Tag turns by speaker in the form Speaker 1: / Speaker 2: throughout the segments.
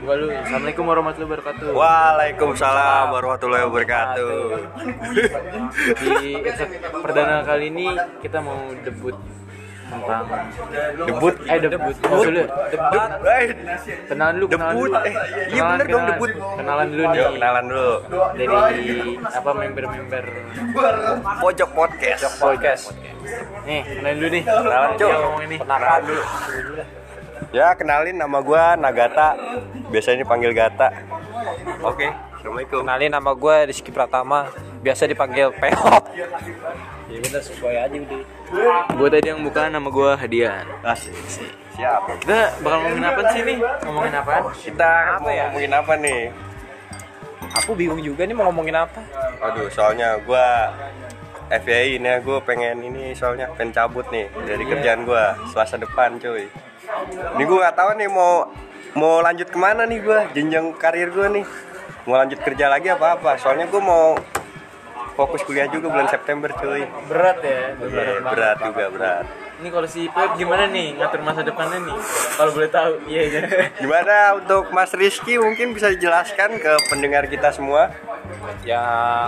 Speaker 1: balu. Eh, Assalamualaikum warahmatullahi wabarakatuh.
Speaker 2: Waalaikumsalam warahmatullahi wabarakatuh.
Speaker 1: Di episode perdana kali ini kita mau debut tentang
Speaker 2: Debut.
Speaker 1: eh debut debut dulu
Speaker 2: Debut. Eh,
Speaker 1: kenalan dulu kenalan
Speaker 2: Debut.
Speaker 1: dulu
Speaker 2: Eh, iya bener dong
Speaker 1: Kenalan,
Speaker 2: debut.
Speaker 1: kenalan. kenalan dulu nih
Speaker 2: Yuk kenalan dulu.
Speaker 1: dari apa member-member
Speaker 2: Pojok podcast.
Speaker 1: podcast nih kenalan dulu nih
Speaker 2: Kenalan, Cuk.
Speaker 1: Dia ngomong ini
Speaker 2: Kenalan dulu. Ya kenalin nama gua Nagata. Biasanya dipanggil Gata. Oke. Assalamualaikum.
Speaker 3: Kenalin nama gue Rizky Pratama, biasa dipanggil Peot.
Speaker 1: Ya gue tadi yang buka nama gue hadian
Speaker 2: Asik. Siap.
Speaker 1: kita bakal ngomongin apa sih nih ngomongin apa
Speaker 2: Kita
Speaker 1: ya?
Speaker 2: mau ngomongin apa nih?
Speaker 3: Aku bingung juga nih mau ngomongin apa.
Speaker 2: Aduh, soalnya gua FBI ini ya, gua pengen ini soalnya pengen cabut nih dari kerjaan gua Selasa depan, cuy. Ini gua nggak tahu nih mau mau lanjut kemana nih gua jenjang karir gua nih. Mau lanjut kerja lagi apa apa? Soalnya gua mau fokus kuliah juga bulan September, cuy.
Speaker 1: berat ya
Speaker 2: Iya, berat juga berat.
Speaker 1: ini kalau si Pep gimana nih ngatur masa depannya nih kalau boleh tahu iya iya
Speaker 2: Gimana untuk Mas Rizky mungkin bisa dijelaskan ke pendengar kita semua?
Speaker 3: Ya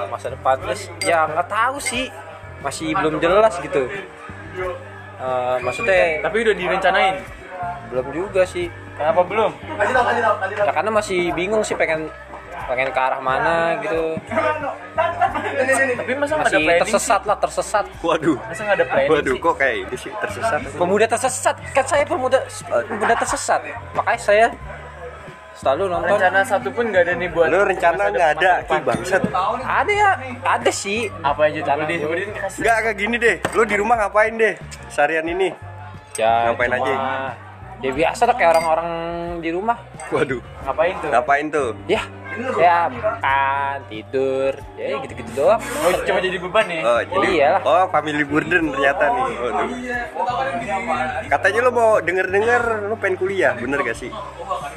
Speaker 3: masa depan terus ya nggak tahu sih, masih belum jelas gitu. Eh, maksudnya
Speaker 1: tapi udah direncanain
Speaker 3: belum juga sih.
Speaker 1: kenapa belum
Speaker 3: Ya, karena masih bingung sih pengen pengen ke arah mana gitu.
Speaker 1: tapi masa
Speaker 3: Masih
Speaker 1: nggak ada planning sih?
Speaker 3: tersesat lah tersesat.
Speaker 2: Waduh.
Speaker 1: masa nggak ada planning
Speaker 2: Waduh,
Speaker 1: sih?
Speaker 2: kok kayak ini sih tersesat.
Speaker 3: Pemuda tersesat, kan saya pemuda pemuda tersesat. Makanya saya selalu nonton
Speaker 1: rencana satu pun nggak ada nih buat
Speaker 2: Lu rencana
Speaker 1: masa
Speaker 2: nggak ada,
Speaker 1: masa
Speaker 2: Ki
Speaker 1: depan.
Speaker 2: bangsat.
Speaker 3: ada ya ada sih
Speaker 1: apa aja tuh boleh disebutin kasih
Speaker 2: Enggak, kayak gini deh. Lu di rumah ngapain deh? Seharian ini.
Speaker 3: ya
Speaker 2: Ngapain
Speaker 3: cuma-
Speaker 2: aja?
Speaker 3: ya biasa lah kayak orang-orang di rumah
Speaker 2: Waduh.
Speaker 1: ngapain tuh
Speaker 2: Ngapain tuh?
Speaker 3: ya ya makan tidur ya gitu-gitu doang
Speaker 1: Oh, cuma jadi beban
Speaker 3: Eh,
Speaker 1: ya?
Speaker 2: Oh, jadi
Speaker 3: iyalah.
Speaker 2: Oh, family burden ternyata nih. Waduh. Katanya lu mau denger-denger lu pengen kuliah, bener gak sih?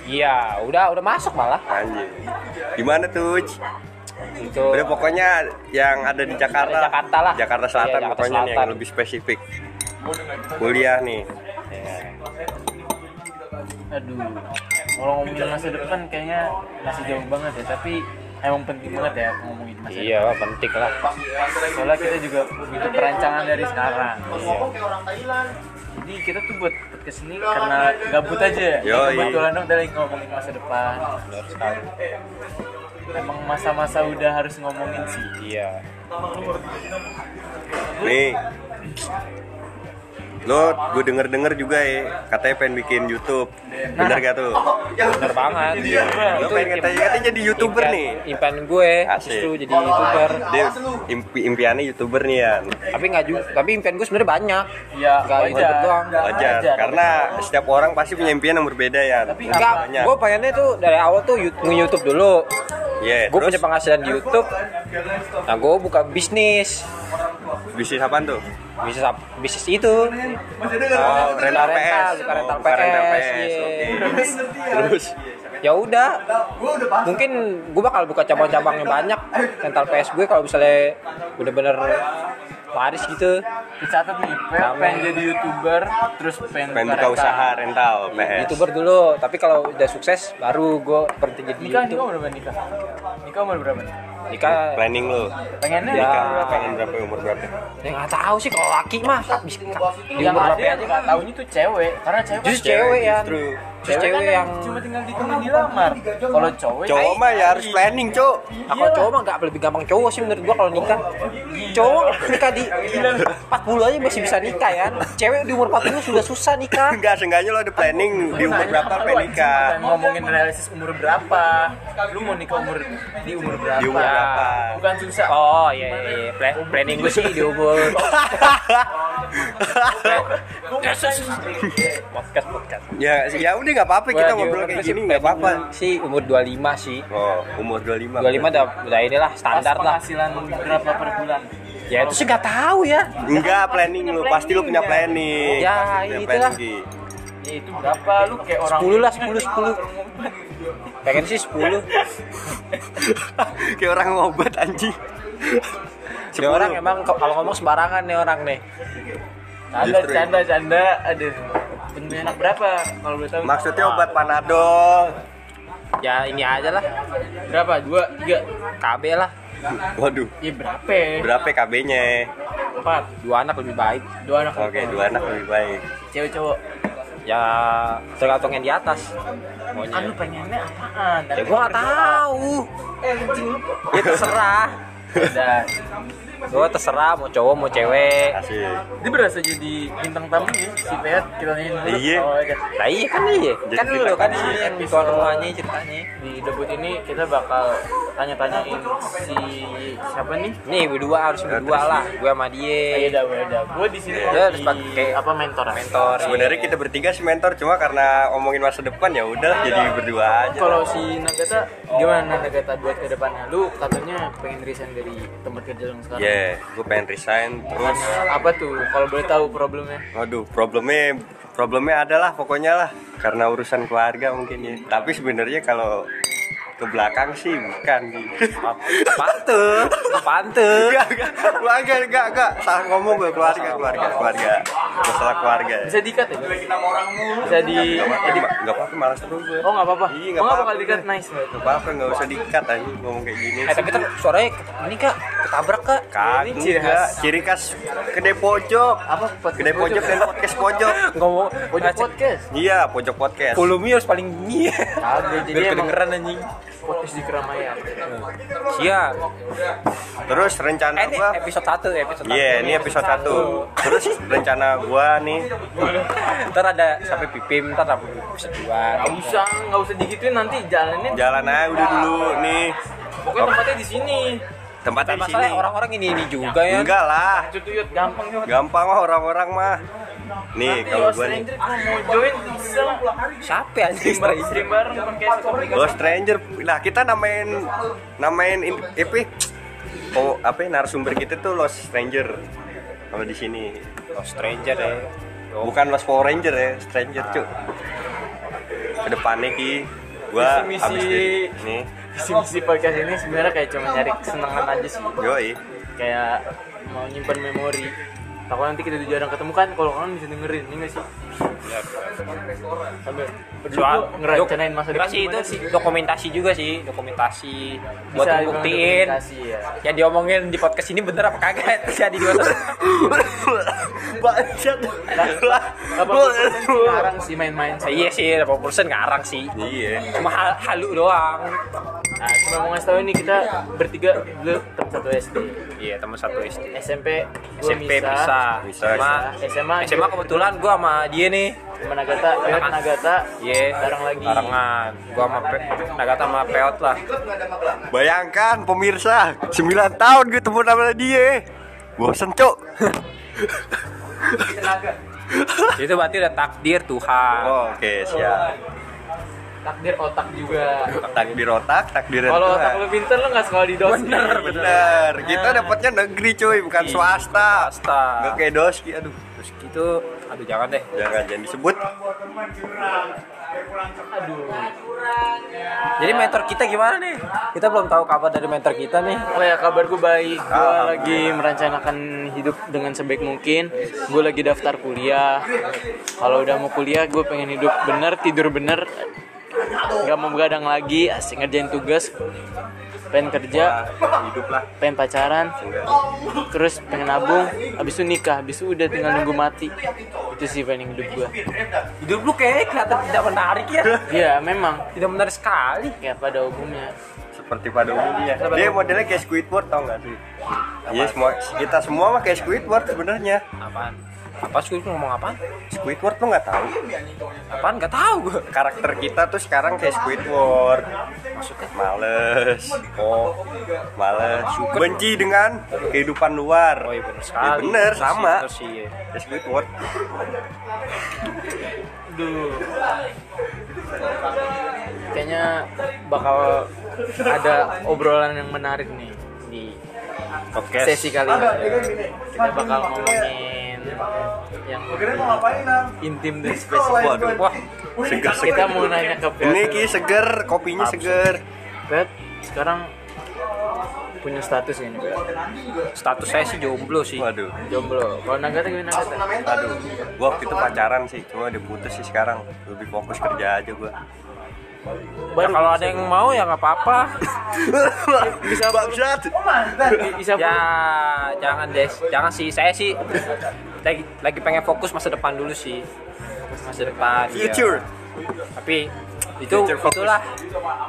Speaker 3: iya udah udah masuk malah
Speaker 2: Anjir. Gimana tuh? Ci?
Speaker 3: itu
Speaker 2: Udah pokoknya yang ada di Jakarta.
Speaker 3: Jakarta lah.
Speaker 2: Jakarta Selatan
Speaker 3: Iya, Jakarta
Speaker 2: pokoknya nih, yang
Speaker 3: Selatan.
Speaker 2: lebih spesifik. Kuliah nih.
Speaker 1: Aduh, kalau ngomongin masa depan kayaknya masih jauh banget ya, tapi emang penting banget ya ngomongin masa
Speaker 3: iya penting lah
Speaker 1: depan. Soalnya kita juga butuh perancangan dari sekarang. Jadi kita tuh buat podcast ini karena gabut aja. ya.
Speaker 2: Yoi.
Speaker 1: Kebetulan dong dari ngomongin masa depan. Emang masa-masa udah harus ngomongin sih.
Speaker 3: iya
Speaker 2: Nih. Lo gue denger-denger juga ya, katanya pengen bikin YouTube.
Speaker 3: Nah.
Speaker 2: Bener gak tuh?
Speaker 3: bener banget iya
Speaker 2: Lo pengen katanya, katanya jadi YouTuber nih.
Speaker 3: impian gue
Speaker 2: Asik.
Speaker 3: justru jadi youtuber
Speaker 2: Dia impi, impiannya YouTuber nih ya.
Speaker 3: tapi nggak juga tapi impian gue sebenarnya banyak
Speaker 1: Ya,
Speaker 3: Nggak ikut doang.
Speaker 2: Wajar, karena setiap orang pasti punya impian yang berbeda ya.
Speaker 1: Tapi
Speaker 3: Enggak,
Speaker 2: Banyak.
Speaker 3: gue pengennya tuh dari awal tuh yu- nge-youtube dulu
Speaker 2: Iya,
Speaker 3: Gue
Speaker 2: terus
Speaker 3: punya penghasilan di youtube Nah gue buka bisnis
Speaker 2: bisnis apaan tuh?
Speaker 3: bisnis apa? bisnis itu
Speaker 2: Oh, rental
Speaker 3: rental,
Speaker 2: PS.
Speaker 3: bukan rental
Speaker 2: Oh, bukan rental
Speaker 3: PS,
Speaker 2: PS,
Speaker 3: iya.
Speaker 2: oke. Terus
Speaker 3: ya udah mungkin gue bakal buka cabang-cabang yang banyak rental PS gue kalau misalnya bener-bener laris gitu
Speaker 1: Dicatat nih, Pep
Speaker 3: Sama.
Speaker 1: pengen jadi youtuber, terus pengen,
Speaker 2: pengen buka
Speaker 1: rental.
Speaker 2: usaha rental PS.
Speaker 3: Iya, youtuber dulu tapi kalau udah sukses baru gue berhenti jadi
Speaker 1: Nikah, nikah
Speaker 3: youtuber
Speaker 1: umur berapa nikah? Nikah umur berapa? nih?
Speaker 3: nikah
Speaker 2: Planning lo.
Speaker 1: Pengennya
Speaker 3: Ya.
Speaker 1: nikah umur berapa?
Speaker 2: Pengen berapa umur berapa?
Speaker 3: ya nggak tahu sih kalau laki mah bis- di
Speaker 1: yang
Speaker 3: umur
Speaker 1: ada
Speaker 3: berapa
Speaker 1: yang
Speaker 3: aja
Speaker 1: nggak tahunya tuh cewek karena cewek kan-
Speaker 3: justru cewek yang
Speaker 2: justru.
Speaker 3: justru
Speaker 1: kan
Speaker 3: cewek yang
Speaker 1: cuma tinggal ditunggu dilamar kalau cowok
Speaker 2: Cowok mah ya harus planning, Cok.
Speaker 3: Nah, kalau cowok mah nggak lebih gampang cowok sih menurut gua kalau
Speaker 1: Oh,
Speaker 3: nikah. Cowok nikah di 40 aja masih bisa nikah ya. Cewek di umur 40 sudah susah nikah.
Speaker 2: Enggak, seenggaknya lo ada planning di umur berapa
Speaker 1: Lu
Speaker 2: pengen
Speaker 1: anjing,
Speaker 2: nikah.
Speaker 1: bukan ngomongin realistis umur berapa lu mau nikah umur di umur berapa
Speaker 2: Di umur berapa?
Speaker 1: bukan susah
Speaker 3: Oh iya, iya, iya. Pla- planning gue sih di umur podcast podcast.
Speaker 2: ya, ya udah nggak apa-apa kita ngobrol kayak gini nggak apa-apa.
Speaker 3: Sih umur 25 sih.
Speaker 2: Oh, umur 25.
Speaker 3: 25 udah udah inilah
Speaker 1: standar
Speaker 3: standar lah.
Speaker 1: penghasilan berapa per bulan
Speaker 3: Ya itu sih nggak tahu ya.
Speaker 2: Enggak, planning lu. Pasti lu punya planning.
Speaker 3: Ya,
Speaker 2: Pasti lu punya
Speaker 3: itulah.
Speaker 2: planning, Ki.
Speaker 1: ya itu berapa lu kayak orang
Speaker 3: 10 lah 10 10. Pengen sih 10.
Speaker 2: Kayak orang ngobat anjing.
Speaker 3: Dia Ya orang emang kalau ngomong sembarangan nih orang nih.
Speaker 1: canda
Speaker 2: Justru.
Speaker 1: canda canda
Speaker 3: Ah.
Speaker 1: aduh bentuknya anak berapa kalau boleh tahu
Speaker 2: maksudnya obat panadol.
Speaker 3: ya ini aja lah
Speaker 1: Berapa? Dua, tiga,
Speaker 3: KB lah
Speaker 2: Waduh,
Speaker 1: ya berapa ya?
Speaker 2: berapa KB-nya?
Speaker 1: Empat,
Speaker 3: dua anak lebih baik
Speaker 1: dua anak.
Speaker 2: Oke, dua anak lebih baik.
Speaker 1: Cewek cowok.
Speaker 3: ya tergantung yang di atas maunya
Speaker 1: Anu pengennya apaan?
Speaker 3: Iya. ya gua nggak tahu ya terserah
Speaker 1: Nah,
Speaker 4: udah
Speaker 3: gua terserah mau cowok mau cewek
Speaker 2: Asik.
Speaker 1: Dia berasa jadi bintang tamu ya, si Peyat kita nanyain dulu.
Speaker 2: Iya.
Speaker 1: Oh, iya.
Speaker 3: nah iya kan iya
Speaker 2: Jadi
Speaker 3: kan
Speaker 2: cerita
Speaker 3: lu kan
Speaker 2: kan
Speaker 3: di sini yang
Speaker 1: iya.
Speaker 3: keluarnya ceritanya
Speaker 1: Di debut ini kita bakal tanya-tanyain si siapa nih?
Speaker 3: nih berdua harus berdua
Speaker 2: terus.
Speaker 3: lah gue sama dia
Speaker 1: Ayo dah, ayo dah. Gue di sini
Speaker 3: Dia
Speaker 1: mau
Speaker 3: harus
Speaker 1: di-
Speaker 3: Iya. pakai
Speaker 1: apa mentor? ya?
Speaker 3: mentor
Speaker 2: Sebenarnya kita bertiga sih mentor, cuma karena omongin masa depan ya udahlah jadi berdua aja.
Speaker 1: Kalau si Nagata gimana Nagata buat ke depannya? Lu katanya pengen resign dari tempat kerja lu yang sekarang.
Speaker 2: Yeah, gue Ya, pengen resign terus.
Speaker 3: Iya.
Speaker 1: Apa tuh? Kalau boleh tahu problemnya?
Speaker 2: Waduh, problemnya problemnya adalah pokoknya lah karena urusan keluarga mungkin ya. Tapi sebenarnya kalau ke belakang sih bukan.
Speaker 3: pantun pantun
Speaker 2: Enggak, enggak, keluarga, enggak, enggak. Salah ngomong gue keluarga, keluarga, keluarga. Masalah keluarga.
Speaker 1: Bisa dikat ya? Kita orang mulu. Bisa di
Speaker 2: Enggak apa-apa, eh, enggak apa-apa, malas terus gue.
Speaker 1: Oh nggak apa-apa.
Speaker 2: Iya,
Speaker 1: oh,
Speaker 2: nggak
Speaker 1: nggak
Speaker 2: apa-apa.
Speaker 1: bakal dikat nice banget.
Speaker 2: Enggak apa-apa, enggak usah dikat aja ngomong kayak gini.
Speaker 3: eh tapi ter suaranya ini kak ketabrak kak
Speaker 2: Kagak,
Speaker 1: Ini ciri khas.
Speaker 2: ciri khas kedai pojok.
Speaker 1: Apa?
Speaker 2: Kedai pojok
Speaker 3: ya,
Speaker 2: dan podcast pojok.
Speaker 3: ngomong
Speaker 1: Pojok podcast.
Speaker 2: Iya, pojok podcast.
Speaker 3: volumenya harus paling bunyi
Speaker 1: Kagak jadi
Speaker 3: biar
Speaker 1: emang
Speaker 3: kedengeran anjing
Speaker 1: podcast di keramaian.
Speaker 3: iya
Speaker 2: Terus rencana
Speaker 3: eh, ini
Speaker 2: gua
Speaker 3: episode 1 episode 1
Speaker 2: Iya, ini episode 1. Terus rencana gua nih
Speaker 3: ntar ada sampai pipim ntar sampai episode 2
Speaker 1: Nggak usah, nggak usah digituin nanti jalannya.
Speaker 2: jalan aja udah dulu nih.
Speaker 1: Pokoknya tempatnya di sini.
Speaker 2: Tempatnya di sini.
Speaker 3: masalahnya orang-orang ini ini juga ya
Speaker 2: Enggak lah.
Speaker 1: Cutuyut gampang sih.
Speaker 2: Gampang mah orang-orang mah. Nih, kalau gua nih
Speaker 1: stranger kalau mau join bisa lah.
Speaker 3: siapa ya anjing
Speaker 1: Stream bareng, stream bareng podcast.
Speaker 2: Lo stranger lah kita namain namain in- apa? Oh, apa ya, narasumber kita tuh Los Stranger. Kalau di sini
Speaker 3: stranger ya Ah.
Speaker 2: bukan Los Power Ranger ya, Stranger cuy. Kedepannya ki gua
Speaker 1: Misi-misi.
Speaker 2: habis dari nih.
Speaker 1: Misi-misi podcast ini sebenarnya kayak cuma nyari kesenangan aja sih.
Speaker 2: Yoi.
Speaker 1: Kayak mau nyimpan memori. Takut nanti kita jarang ketemu kan kalau kalian bisa dengerin, ini nggak sih? Iya. Sambil
Speaker 3: soal
Speaker 1: berdua ngerencanain masa
Speaker 3: enggak
Speaker 1: depan
Speaker 3: sih itu
Speaker 1: gimana
Speaker 3: sih dokumentasi juga sih dokumentasi
Speaker 1: Bisa
Speaker 3: buat
Speaker 1: dibilang
Speaker 3: buktiin
Speaker 1: dokumentasi, ya.
Speaker 3: yang diomongin di podcast ini bener apa kagak jadi di masa
Speaker 2: Bangsat.
Speaker 1: Apa persen sekarang sih main-main
Speaker 3: Nah, iya
Speaker 1: saya.
Speaker 3: sih 80% ngarang sih
Speaker 2: Iya.
Speaker 3: cuma hal- halu doang
Speaker 1: Nah, cuma mau ngasih tau ini kita bertiga dulu teman satu SD.
Speaker 3: iya teman satu SD
Speaker 1: SMP gua
Speaker 3: SMP bisa
Speaker 2: Bisa.
Speaker 3: sama
Speaker 1: SMA
Speaker 3: SMA kebetulan gua sama dia nih
Speaker 1: sama Nagata, Peot Nagata.
Speaker 3: Iya,
Speaker 1: Bareng lagi.
Speaker 3: Barengan. Gua sama Pe Nagata sama Peot lah.
Speaker 2: Bayangkan pemirsa, 9 tahun gue temen sama dia. Bosen, Cuk.
Speaker 3: Itu berarti udah takdir
Speaker 2: Oh.
Speaker 3: Tuhan.
Speaker 2: Oke, siap.
Speaker 1: Takdir otak juga.
Speaker 2: Takdir otak, takdir
Speaker 1: Kalau
Speaker 2: Tuhan.
Speaker 1: otak lu pinter lu nggak sekolah di dosen.
Speaker 2: Bener, bener. Kita dapatnya negeri, cuy, bukan swasta.
Speaker 3: Swasta.
Speaker 2: Nggak kayak doski, aduh.
Speaker 3: Terus gitu, aduh jangan deh.
Speaker 2: Jangan jangan disebut.
Speaker 3: Jadi mentor kita gimana nih? Kita belum tahu kabar dari mentor kita nih.
Speaker 1: Oh ya kabar gue baik. Gue
Speaker 2: Alhamdulillah.
Speaker 1: lagi merencanakan hidup dengan sebaik mungkin. Gue lagi daftar kuliah. Kalau udah mau kuliah, gue pengen hidup bener, tidur bener, nggak mau begadang lagi, asik ngerjain tugas, pengen kerja,
Speaker 2: Hidup lah.
Speaker 1: pengen pacaran, terus pengen nabung, habis itu nikah, habis itu udah tinggal nunggu mati. Itu sih planning hidup gue.
Speaker 3: Hidup lu kayaknya kelihatan tidak menarik ya.
Speaker 1: Iya memang.
Speaker 3: Tidak menarik sekali.
Speaker 1: Ya pada umumnya.
Speaker 2: Seperti pada umumnya. Dia modelnya kayak Squidward tau nggak sih? Iya, semua kita semua mah kayak Squidward sebenarnya.
Speaker 3: Apaan? Apa sih lu ngomong apaan?
Speaker 2: Squidward lo nggak tahu.
Speaker 3: Apaan nggak tahu gua.
Speaker 2: karakter kita tuh sekarang kayak Squidward maksudnya males oh males benci dengan kehidupan luar
Speaker 3: Oh iya bener sekali.
Speaker 2: Ya, bener,
Speaker 3: Terus
Speaker 2: sama.
Speaker 3: sih, terus sih, iya.
Speaker 2: Kayak Squidward
Speaker 1: Duh. Kayaknya bakal ada obrolan yang menarik nih di
Speaker 2: podcast
Speaker 1: sesi kali ini. Kita bakal ngomongin yang lebih intim dan spesifik.
Speaker 2: waduh wah seger seger
Speaker 1: Kita mau nanya ke Pet.
Speaker 2: ini ki seger kopinya seger
Speaker 1: Pet, sekarang punya status ini Pet.
Speaker 3: Status saya sih jomblo sih.
Speaker 2: waduh
Speaker 1: Jomblo. Kalau Nagata gimana Nagata?
Speaker 2: aduh gua waktu itu pacaran sih cuma udah putus sih sekarang lebih fokus kerja aja gua
Speaker 1: Ya, kalau ada yang mau ya nggak apa-apa.
Speaker 2: bisa bangsat
Speaker 1: Bisa
Speaker 3: ya jangan deh jangan sih saya sih lagi, lagi pengen fokus masa depan dulu sih masa depan iya.
Speaker 2: future
Speaker 3: tapi itu
Speaker 2: Future focus.
Speaker 3: itulah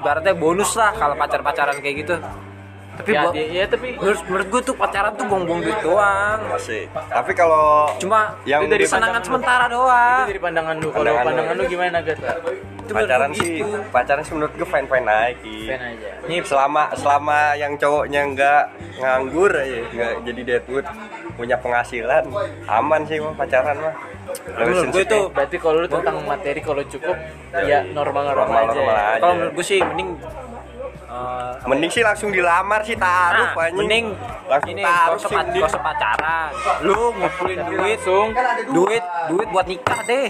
Speaker 3: ibaratnya bonus lah kalau pacar pacaran kayak gitu tapi
Speaker 1: ya,
Speaker 3: buat-
Speaker 1: dia- ya, tapi
Speaker 3: menurut menurut gue tuh pacaran tuh buang-buang duit doang
Speaker 2: masih tapi kalau
Speaker 3: cuma
Speaker 2: Yang
Speaker 3: itu dari
Speaker 2: dipacaran-
Speaker 3: kesenangan sementara doang
Speaker 1: dari pandangan lu kalau
Speaker 2: Pandangan lu.
Speaker 1: pandangan lu gimana Gat?
Speaker 3: Itu menurut
Speaker 2: pacaran
Speaker 3: gua
Speaker 2: sih
Speaker 3: gitu.
Speaker 2: pacaran sih menurut gue fine fine aja Ki.
Speaker 1: Fan aja.
Speaker 2: Nih selama selama yang cowoknya nggak nganggur aja, nggak jadi deadwood, punya penghasilan, aman sih mah pacaran mah.
Speaker 3: Nah, menurut gue itu
Speaker 1: Eh, Berarti kalau lu tentang materi kalau cukup ya
Speaker 2: normal
Speaker 1: normal-normal aja.
Speaker 2: normal
Speaker 1: ya.
Speaker 2: aja.
Speaker 3: kalau menurut gue sih mending eh,
Speaker 2: Mending sih langsung dilamar sih
Speaker 3: Nah,
Speaker 2: taruh anjing.
Speaker 3: mending
Speaker 2: langsung
Speaker 3: ini
Speaker 2: taruh
Speaker 3: gak
Speaker 2: sih.
Speaker 3: usah, pa- gak usah pacaran lu ngumpulin duit
Speaker 1: Langsung
Speaker 3: duit duit buat nikah deh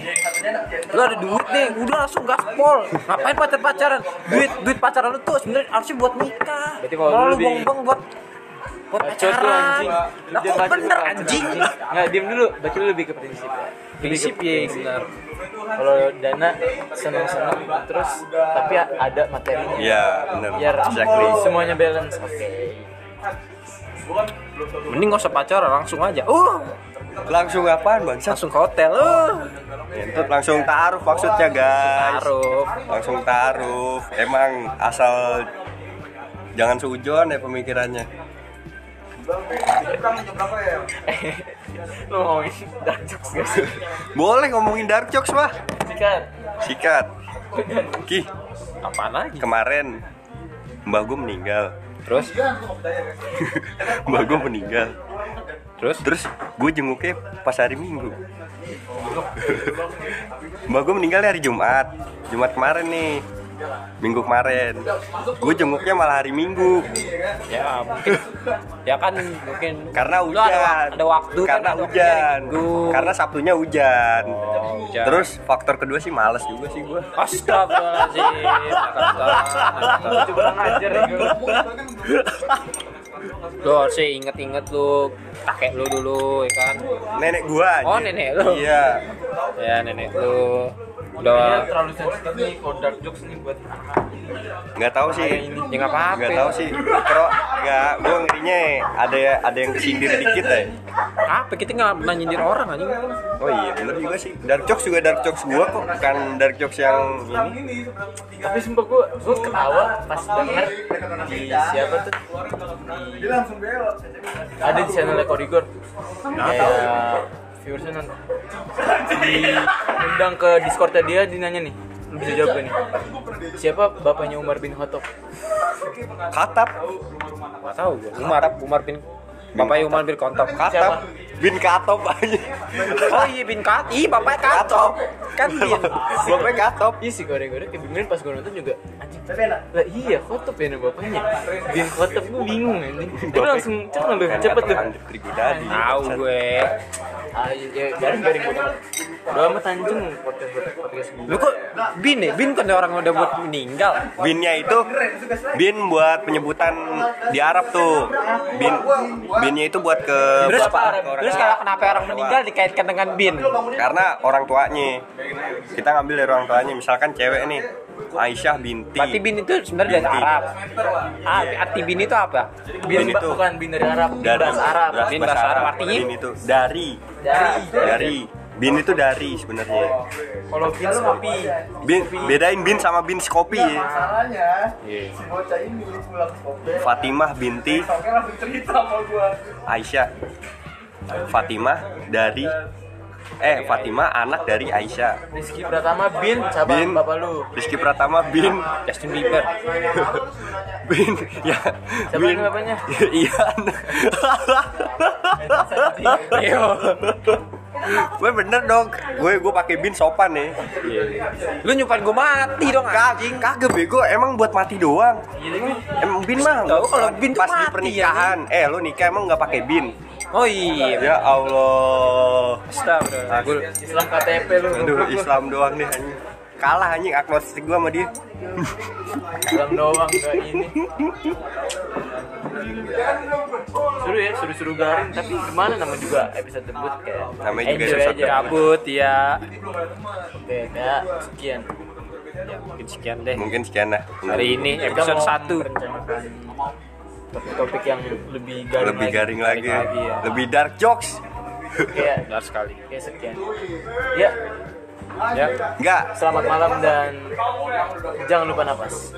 Speaker 3: lu ada duit nih udah langsung gaspol ngapain pacar pacaran duit duit pacaran lu tuh sebenarnya harusnya buat nikah
Speaker 1: Berarti kalau
Speaker 3: kalau
Speaker 1: lu
Speaker 3: lu
Speaker 1: di-
Speaker 3: buang buang buat buat
Speaker 1: Bacot
Speaker 3: pacaran
Speaker 1: tuh anjing.
Speaker 3: lah
Speaker 1: Dia
Speaker 3: kok
Speaker 1: bacot
Speaker 3: bener
Speaker 1: tuh bacot,
Speaker 3: anjing
Speaker 1: Nggak, diem dulu. Berarti lu lebih ke prinsip ya?
Speaker 3: prinsip
Speaker 1: Lebih ke
Speaker 3: ya bener
Speaker 1: Kalau dana seneng-seneng terus tapi a- ada materinya.
Speaker 2: Iya, benar.
Speaker 1: Biar
Speaker 2: Exactly.
Speaker 1: semuanya balance. Oke.
Speaker 3: mending gak usah pacaran langsung aja uh
Speaker 2: Langsung apaan, Bang? Sat?
Speaker 3: langsung ke hotel uh
Speaker 2: Entut langsung taruh maksudnya, guys.
Speaker 3: taruh
Speaker 2: Langsung taruh. Emang asal jangan sujon ya pemikirannya.
Speaker 1: Lu ngomongin dark jokes gak sih?
Speaker 2: Boleh ngomongin dark jokes, mah.
Speaker 1: Sikat.
Speaker 2: Sikat. Ki,
Speaker 3: apaan lagi
Speaker 2: kemarin mbah gue meninggal
Speaker 3: terus
Speaker 2: mbah gue meninggal
Speaker 3: terus
Speaker 2: terus gue jenguknya pas hari minggu mbah gue meninggal hari jumat jumat kemarin nih minggu kemarin gue jenguknya malah hari minggu
Speaker 3: ya mungkin ya kan mungkin
Speaker 2: Iya. karena
Speaker 3: Lu ada
Speaker 2: hujan
Speaker 3: wak- ada waktu kan, ada waktunya
Speaker 2: karena hujan
Speaker 3: hari Minggu.
Speaker 2: karena sabtunya hujan
Speaker 3: hujan.
Speaker 2: terus faktor kedua sih males juga sih gue
Speaker 3: Astagfirullahaladzim
Speaker 1: Lu coba ngajar ya gue.
Speaker 3: Lu harusnya inget-inget lu kakek lu dulu ya kan
Speaker 2: nenek gua
Speaker 3: Oh,
Speaker 2: anjing.
Speaker 3: nenek lu.
Speaker 2: iya
Speaker 3: Ya nenek lu
Speaker 1: Kayaknya
Speaker 3: Udah
Speaker 1: terlalu sensitif nih kalau dark jokes nih buat anak.
Speaker 2: nggak tahu sih
Speaker 3: Ya nggak apa-apa
Speaker 2: nggak tahu sih pro nggak gue ngerinya ya, ada ada yang kesindir dikit ya
Speaker 3: Apa kita nggak pernah nyindir orang anjing
Speaker 2: oh iya bener juga sih dark jokes juga dark jokes gue kok bukan dark jokes yang ini
Speaker 1: Tapi sumpah gue, gue ketawa pas denger di siapa tuh Di- Ada di channelnya Korigor Kayak eh, viewersnya nanti Diundang ke discordnya dia, dia nanya nih Lu bisa jawab gak nih Siapa bapaknya Umar bin Khattab?
Speaker 2: katap
Speaker 3: Nggak tahu gua Umar Umar bin Bapaknya Umar bin Kontop
Speaker 2: katap bin katop aja
Speaker 3: Oh iya bin Kat Ih bapaknya Katop Kan bin
Speaker 2: bapaknya katop
Speaker 1: Iya sih Korigor, kebeneran pas gue nonton juga Anjing, lah iya Khattab ya nama bapaknya Bin Khattab, gue bingung anjing Itu langsung, cepet lu, cepet lu
Speaker 2: Andri Trigodadi.
Speaker 3: Tahu gue
Speaker 1: Ayo, ya, garing garing garing. Udah amat anjing podcast podcast gue.
Speaker 3: Lu kok bin ya? Bin kan orang udah buat meninggal
Speaker 2: binnya itu bin buat penyebutan di Arab tuh bin binnya itu buat ke
Speaker 3: Terus,
Speaker 2: bapak, ke orang
Speaker 3: terus
Speaker 2: tua.
Speaker 3: kalau kenapa orang meninggal dikaitkan dengan bin
Speaker 2: karena orang tuanya kita ngambil dari orang tuanya misalkan cewek nih Aisyah binti
Speaker 3: Berarti bin itu sebenarnya dari
Speaker 2: Binti.
Speaker 3: Arab. Ah, arti bin itu apa?
Speaker 1: Bin
Speaker 2: Bin
Speaker 1: ba-
Speaker 2: itu.
Speaker 1: bukan bin dari Arab, bin
Speaker 2: dari
Speaker 1: bahasa Arab.
Speaker 2: dari
Speaker 3: Bin
Speaker 2: bahasa
Speaker 3: bahasa
Speaker 2: Arab
Speaker 3: Arab, artinya?
Speaker 2: bin itu dari
Speaker 1: Dari.
Speaker 2: dari bin itu dari sebenarnya
Speaker 1: Kalau bin kopi,
Speaker 2: bin bedain bin sama bin kopi ya
Speaker 5: Masalahnya, si bocah ini pulang ke Kobe,
Speaker 2: Fatimah binti
Speaker 5: besoknya langsung cerita sama gua.
Speaker 2: Aisyah Fatimah dari eh Fatimah anak dari Aisyah
Speaker 1: Rizky Pratama bin cabang
Speaker 2: Bin.
Speaker 1: bapak lu.
Speaker 2: Rizky Pratama bin
Speaker 3: Justin Bieber.
Speaker 2: bin ya
Speaker 1: Siapa
Speaker 2: bin
Speaker 1: ini bapaknya?
Speaker 2: iya
Speaker 3: Yo.
Speaker 2: gue bener dong gue gue pakai bin sopan nih
Speaker 3: Lu nyumpahin gua mati dong ah. anjing.
Speaker 2: Kagak, kagak bego, emang buat mati doang. Emang bin mah
Speaker 3: Iya, Tahu kalau bin tuh
Speaker 2: pas di
Speaker 3: mati,
Speaker 2: pernikahan. Eh, lu nikah emang nggak pakai bin?
Speaker 3: Oh iya.
Speaker 2: Ya Allah.
Speaker 3: Astagfirullah.
Speaker 2: Aku,
Speaker 1: Islam KTP lu.
Speaker 2: aduh, Islam doang nih anjing. Kalah anjing agnostik gua sama dia.
Speaker 1: Islam doang gak ini. Suruh ya, suruh-suruh garing. Tapi gimana nama juga episode debut kayak.
Speaker 2: Namanya juga
Speaker 1: enjoy
Speaker 2: episode
Speaker 1: aja.
Speaker 3: Gabut ya.
Speaker 1: Oke, kayak sekian.
Speaker 3: ya mungkin sekian deh
Speaker 2: Mungkin sekian lah.
Speaker 3: hari ini
Speaker 1: Kita
Speaker 3: episode
Speaker 1: mau
Speaker 3: satu
Speaker 1: merencanakan topik-topik yang lebih garing
Speaker 2: lebih
Speaker 1: lagi,
Speaker 2: garing lagi,
Speaker 1: ya.
Speaker 2: lebih dark jokes.
Speaker 1: Kayak-
Speaker 3: benar sekali
Speaker 1: kayak sekian ya
Speaker 3: ya
Speaker 2: Enggak,
Speaker 1: selamat malam dan jangan lupa nafas